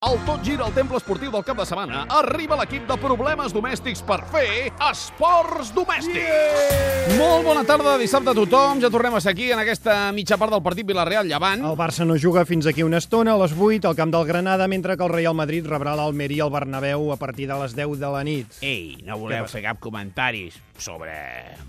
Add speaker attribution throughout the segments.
Speaker 1: El tot gira al temple esportiu del cap de setmana. Arriba l'equip de problemes domèstics per fer esports domèstics. Yeah! Molt bona tarda, dissabte a tothom. Ja tornem a ser aquí en aquesta mitja part del partit Villarreal-Llevant.
Speaker 2: El Barça no juga fins aquí una estona, a les 8, al camp del Granada, mentre que el Real Madrid rebrà l'Almeria al Bernabéu a partir de les 10 de la nit.
Speaker 3: Ei, no voleu fer cap comentaris sobre,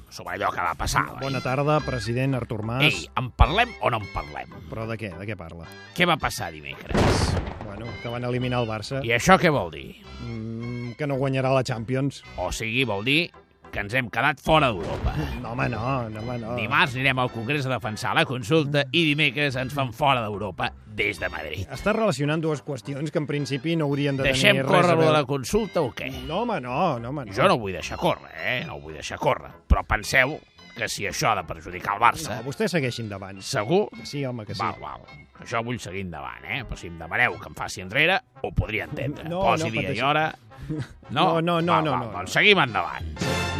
Speaker 3: sobre allò que va passar, oi?
Speaker 2: Bona tarda, president Artur Mas.
Speaker 3: Ei, en parlem o no en parlem?
Speaker 2: Però de què? De què parla?
Speaker 3: Què va passar dimecres?
Speaker 2: Bueno, que van eliminar el Barça,
Speaker 3: I això què vol dir?
Speaker 2: mm, que no guanyarà la Champions.
Speaker 3: O sigui, vol dir que ens hem quedat fora d'Europa.
Speaker 2: No, home, no, no, home, no.
Speaker 3: Dimarts anirem al Congrés a defensar la consulta i dimecres ens fan fora d'Europa des de Madrid.
Speaker 2: Estàs relacionant dues qüestions que en principi no haurien de
Speaker 3: Deixem
Speaker 2: tenir res
Speaker 3: córrer
Speaker 2: a
Speaker 3: lo de
Speaker 2: veure.
Speaker 3: la consulta o què?
Speaker 2: No, home, no, no, home, no.
Speaker 3: Jo no ho vull deixar córrer, eh? No ho vull deixar córrer. Però penseu que si això ha de perjudicar el
Speaker 2: No,
Speaker 3: Barça,
Speaker 2: vostès segueixin davant.
Speaker 3: segur
Speaker 2: Que Sí, home, que sí.
Speaker 3: Val, val. Això vull seguir endavant, eh? Però si em demaneu que em faci enrere, ho podria entendre.
Speaker 2: No,
Speaker 3: No, Posi
Speaker 2: no,
Speaker 3: no, dia i
Speaker 2: pateixi.
Speaker 3: hora... No,
Speaker 2: No, no, no,
Speaker 3: val,
Speaker 2: no,
Speaker 3: val,
Speaker 2: no,
Speaker 3: Doncs
Speaker 2: no.
Speaker 3: seguim endavant.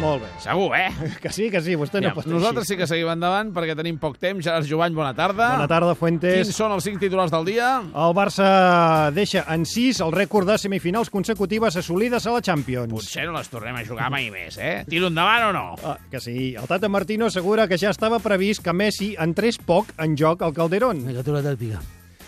Speaker 2: Molt bé.
Speaker 3: Segur, eh?
Speaker 2: Que sí, que sí, vostè no
Speaker 3: Aviam,
Speaker 2: pot
Speaker 1: Nosaltres sí que seguim endavant perquè tenim poc temps. Gerard Jovany, bona tarda.
Speaker 2: Bona tarda, Fuentes.
Speaker 1: Quins són els cinc titulars del dia?
Speaker 2: El Barça deixa en 6 el rècord de semifinals consecutives assolides a la Champions.
Speaker 3: Potser no les tornem a jugar mai més, eh? Tiro endavant o no?
Speaker 2: Ah, que sí. El Tata Martino assegura que ja estava previst que Messi entrés poc en joc al Calderón.
Speaker 4: Negatura táctica.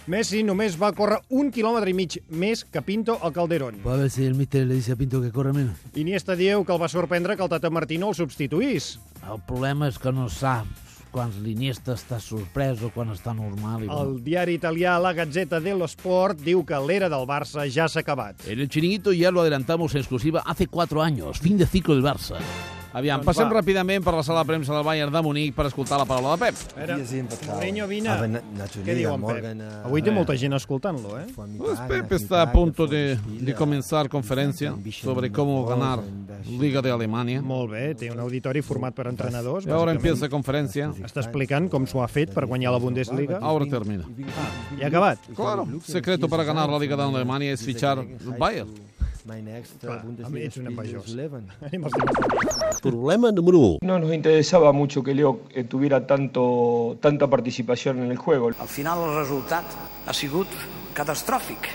Speaker 2: Messi només va córrer un quilòmetre i mig més que Pinto al Calderón.
Speaker 4: Va a ver si el míster le dice a Pinto que corre menos.
Speaker 2: Iniesta diu que el va sorprendre que el Tata Martino el substituís.
Speaker 4: El problema és que no saps quan l'Iniesta està sorprès o quan està normal. I...
Speaker 2: El diari italià La Gazzetta dello Sport diu que l'era del Barça ja s'ha acabat.
Speaker 5: En el chiringuito ya lo adelantamos en exclusiva hace cuatro años. Fin de ciclo del Barça.
Speaker 1: Aviam,
Speaker 2: Doncs
Speaker 1: passem
Speaker 2: va.
Speaker 1: ràpidament per la sala de premsa del Bayern de Munic per escoltar la paraula de Pep.
Speaker 2: Era...
Speaker 6: Wiedersehen, Vertrau.
Speaker 2: Mourinho, vine.
Speaker 6: Aber Ah, na natürlich,
Speaker 2: Què diu en
Speaker 6: am
Speaker 2: Pep?
Speaker 6: Morgen, äh,
Speaker 2: Avui té molta gent escoltant-lo, eh?
Speaker 6: Vormittag,
Speaker 1: Doncs Pep
Speaker 6: Nachmittag,
Speaker 1: está a punto
Speaker 6: bevor die
Speaker 1: de,
Speaker 6: Spiele,
Speaker 1: de comenzar
Speaker 6: äh,
Speaker 1: conferencia
Speaker 6: ein bisschen
Speaker 1: sobre cómo
Speaker 6: Bronze,
Speaker 1: ganar
Speaker 6: ein bisschen
Speaker 1: Liga de Alemania.
Speaker 2: Molt bé, té un auditori format per entrenadors.
Speaker 1: Y ahora
Speaker 2: bàsicament.
Speaker 1: empieza conferencia.
Speaker 2: Està explicant com s'ho ha fet per guanyar la Bundesliga.
Speaker 1: Ahora termina.
Speaker 2: I ha acabat.
Speaker 1: Claro, secreto para ganar la Liga de Alemania es fichar Bayern.
Speaker 6: Mein nächster
Speaker 2: Clar, amb
Speaker 6: uh, Bundesliga
Speaker 2: ells un
Speaker 6: Spiel
Speaker 2: envejós.
Speaker 6: is 11.
Speaker 2: Anem als temes.
Speaker 5: Problema número 1.
Speaker 7: No nos interesaba mucho que Leo eh, tuviera tanto, tanta participación en el juego.
Speaker 8: Al final el resultat ha sigut catastròfic.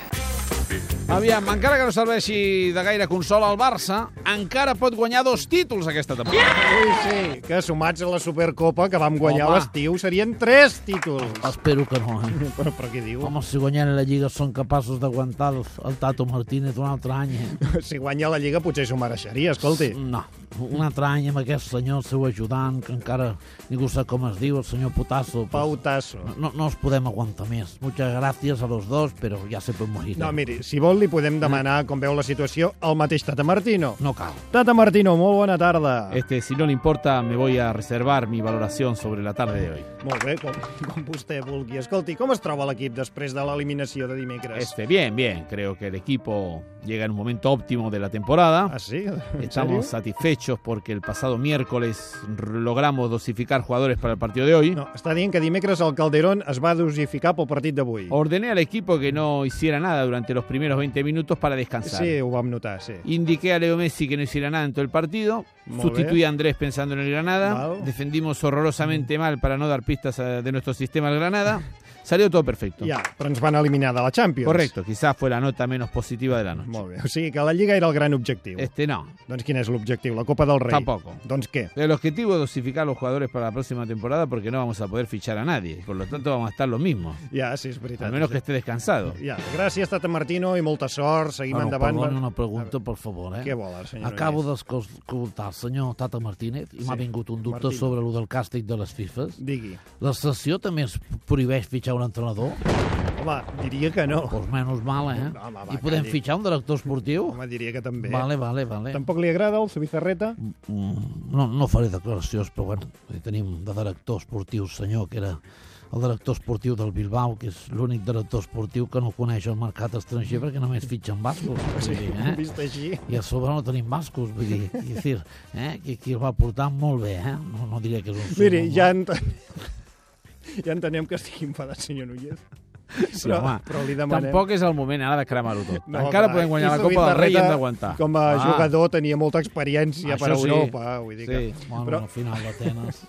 Speaker 1: Aviam, encara que no serveixi de gaire consol al Barça, encara pot guanyar dos títols aquesta temporada.
Speaker 2: Ui, sí, que sumats a la Supercopa que vam guanyar a
Speaker 1: Home.
Speaker 2: l'estiu serien tres títols.
Speaker 4: Espero que no, eh?
Speaker 2: Però, però què diu?
Speaker 4: Home, si guanyant la Lliga són capaços d'aguantar el, el Tato Martínez un altre any, eh?
Speaker 2: Si guanya la Lliga potser s'ho mereixeria, escolti.
Speaker 4: No, un altre any amb aquest senyor, el seu ajudant, que encara ningú sap com es diu, el senyor Putasso. pues,
Speaker 2: Pau Tasso.
Speaker 4: No, no els podem aguantar més. Muchas gracias a los dos, pero ya se pueden morir.
Speaker 2: No, miri, si vol li podem
Speaker 4: Mm.
Speaker 2: demanar com veu la situació al mateix Tata Martino.
Speaker 4: no cal.
Speaker 2: Tata Martino, molt bona tarda.
Speaker 4: Eh.
Speaker 1: Este, si no le importa, me voy a reservar mi valoración sobre la tarde de hoy.
Speaker 2: Molt bé, com, com vostè vulgui. Escolti, com es troba l'equip després de l'eliminació de dimecres?
Speaker 1: Este, bien, bien. Creo que el equipo llega en un momento óptimo de la temporada.
Speaker 2: Ah, sí? En
Speaker 1: Estamos
Speaker 2: sèrio?
Speaker 1: satisfechos porque el pasado miércoles r- logramos dosificar jugadores para el partido de hoy.
Speaker 2: No, està dient que dimecres el Calderón es va dosificar pel partit d'avui.
Speaker 4: Oh,
Speaker 1: Ordené al equipo que no hiciera nada durante los primeros 20 minutos para descansar.
Speaker 2: Sí, ho vam notar, sí.
Speaker 4: Doncs.
Speaker 1: Indiqué a Leo Messi que no hiciera nada en todo el partido.
Speaker 2: Muy
Speaker 1: Sustituí a Andrés pensando en el Granada.
Speaker 2: Mal.
Speaker 1: Defendimos horrorosamente mal para no dar pistas eh, de nuestro sistema al Granada. Salió todo perfecto.
Speaker 2: Ja, però ens van eliminar de la Champions.
Speaker 1: Correcto, quizás fue la nota menos positiva de la noche.
Speaker 2: Molt bé, o sigui que la Lliga era el gran objectiu.
Speaker 4: Eh.
Speaker 1: Este no.
Speaker 2: Doncs quin és l'objectiu? La Copa del Rei?
Speaker 1: Tampoco.
Speaker 2: Doncs què?
Speaker 1: El objetivo es dosificar a los jugadores para la próxima temporada porque no vamos a poder fichar a nadie. Por lo tanto, vamos a estar los mismos.
Speaker 2: Ja, sí, és veritat.
Speaker 1: Al menos que esté descansado.
Speaker 2: Ja, gràcies, Tata Martino, i molta sort. Seguim
Speaker 4: Bueno,
Speaker 2: endavant.
Speaker 4: perdoni una pregunta, per favor, eh?
Speaker 2: Què vol, el senyor
Speaker 4: Acabo d'escoltar el senyor Tata Martínez i m'ha vingut un dubte
Speaker 2: Martínez.
Speaker 4: sobre el del càstig de les FIFAs.
Speaker 2: Digui.
Speaker 4: La sessió també es prohibeix fitxar un entrenador?
Speaker 2: Home, diria que no.
Speaker 4: Doncs menys mal, eh?
Speaker 2: Home, va,
Speaker 4: I podem
Speaker 2: calli.
Speaker 4: fitxar un director esportiu?
Speaker 2: Home, diria que també.
Speaker 4: Vale, vale, vale.
Speaker 2: Tampoc li agrada el Subizarreta?
Speaker 4: Mm, No, no faré declaracions, però bueno, hi tenim de director esportiu, senyor, que era el director esportiu del Bilbao, que és l'únic director esportiu que no coneix el mercat estranger perquè només fitxen bascos. Sí, eh?
Speaker 2: Vist així.
Speaker 4: I a sobre no tenim bascos, vull dir, i dir eh, que, que el va portar molt bé, eh? No, no diré que és un...
Speaker 2: Miri,
Speaker 4: no,
Speaker 2: ja entenem, ja entenem que estigui enfadat, senyor Núñez.
Speaker 1: Sí,
Speaker 2: però,
Speaker 1: home,
Speaker 2: però li demanem...
Speaker 1: Tampoc és el moment ara de cremar-ho tot.
Speaker 2: No,
Speaker 1: Encara
Speaker 2: clar,
Speaker 1: podem guanyar
Speaker 2: i
Speaker 1: la Copa del Rei i hem
Speaker 2: Zubizarreta,
Speaker 1: d'aguantar.
Speaker 2: Com a
Speaker 1: Ah,
Speaker 2: jugador tenia molta experiència
Speaker 1: Això
Speaker 2: per
Speaker 1: sí.
Speaker 2: Europa. Vull dir que...
Speaker 1: Sí.
Speaker 2: Però-
Speaker 4: Bueno, però... al final d'Atenes...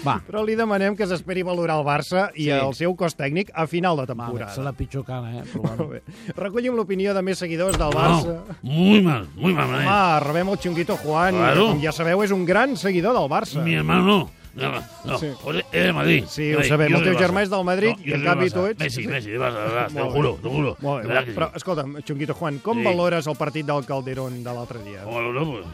Speaker 9: Va.
Speaker 2: Però li demanem que s'esperi valorar el Barça i
Speaker 9: Sí.
Speaker 2: el seu cos tècnic a final de
Speaker 10: Vale,
Speaker 2: temporada.
Speaker 10: serà la pitjor cara, eh? Però bueno.
Speaker 2: Molt bé. Recollim l'opinió de més seguidors del Barça.
Speaker 4: Muy mal, muy mal. eh.
Speaker 2: Home, rebem el xunguito Juan.
Speaker 4: Claro.
Speaker 2: Com ja sabeu, és un gran seguidor del Barça.
Speaker 4: Mi hermano no. No, no.
Speaker 2: Sí.
Speaker 4: José es de Madrid.
Speaker 2: Sí,
Speaker 4: Yo
Speaker 2: ho
Speaker 4: de-
Speaker 2: sabem.
Speaker 4: yo
Speaker 2: El
Speaker 4: de
Speaker 2: teu
Speaker 4: Barça.
Speaker 2: germà és del Madrid
Speaker 4: No,
Speaker 2: i,
Speaker 4: yo
Speaker 2: en
Speaker 4: de
Speaker 2: canvi,
Speaker 4: Barça.
Speaker 2: tu ets...
Speaker 4: Messi, Messi, de Barça, de Barça, te
Speaker 2: Molt
Speaker 4: lo
Speaker 2: bé.
Speaker 4: juro, te lo juro.
Speaker 2: Molt bé,
Speaker 4: De verdad que sí.
Speaker 2: però escolta'm, Xunguito Juan, com
Speaker 4: Sí.
Speaker 2: valores el partit del Calderón de l'altre dia?
Speaker 4: Bueno, no, pues,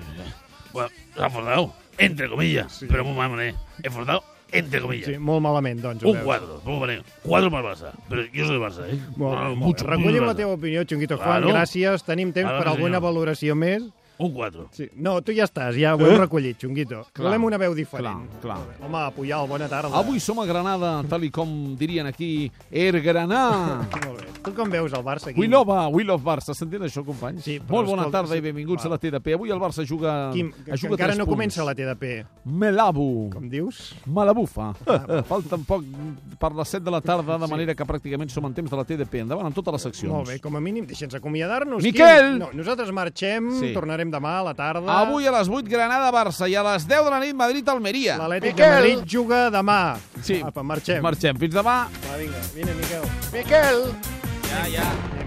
Speaker 4: bueno, se ha forzado, entre comillas, pero muy mal, ¿eh? He forzado, entre comillas.
Speaker 2: Sí, molt malament, doncs. ho
Speaker 4: Un
Speaker 2: veus.
Speaker 4: cuadro, ¿cómo vale? Cuadro para el Barça. Pero yo soy del Barça, ¿eh?
Speaker 2: Molt bé, molt
Speaker 4: Ah, mucho,
Speaker 2: bé.
Speaker 4: mucho
Speaker 2: Recollim
Speaker 4: del
Speaker 2: la
Speaker 4: Barça.
Speaker 2: teva opinió, Xunguito Juan,
Speaker 4: Claro.
Speaker 2: gràcies. Tenim temps
Speaker 4: Claro,
Speaker 2: per alguna
Speaker 4: senyor.
Speaker 2: valoració més?
Speaker 4: Un cuatro.
Speaker 2: Sí. No, tu ja estàs, ja ho heu recollit, Xunguito. Volem una veu diferent.
Speaker 1: Clar, clar.
Speaker 2: Home, Puyol, bona tarda.
Speaker 1: Avui som a Granada, tal i com dirien aquí, Er Granà.
Speaker 2: Molt bé. Tu com veus el Barça aquí?
Speaker 1: We love, uh, we love Barça, sentint això, companys?
Speaker 2: Sí, però
Speaker 1: Molt bona
Speaker 2: escolta,
Speaker 1: tarda
Speaker 2: sí,
Speaker 1: i benvinguts
Speaker 2: va.
Speaker 1: a la TDP. Avui el Barça juga...
Speaker 2: Quim, que, que encara no comença la TDP,
Speaker 1: Melabo.
Speaker 2: com dius?
Speaker 1: Malabufa. Eh, Falten poc per les 7 de la tarda, de manera que pràcticament som en temps de la TDP. Endavant amb totes les seccions.
Speaker 2: Molt bé, com a mínim, deixa'ns acomiadar-nos.
Speaker 1: Miquel!
Speaker 2: Quim. No, nosaltres marxem,
Speaker 1: Sí.
Speaker 2: sí. tornarem demà a la tarda.
Speaker 1: Avui a les 8, Granada-Barça, i a les 10 de la nit, Madrid-Almeria.
Speaker 2: L'Atlètic de Madrid juga demà.
Speaker 1: Sí.
Speaker 2: Apa, marxem.
Speaker 1: Marxem. Fins demà.
Speaker 2: Va, vinga, vine, Miquel.
Speaker 11: Miquel!
Speaker 2: Vinga,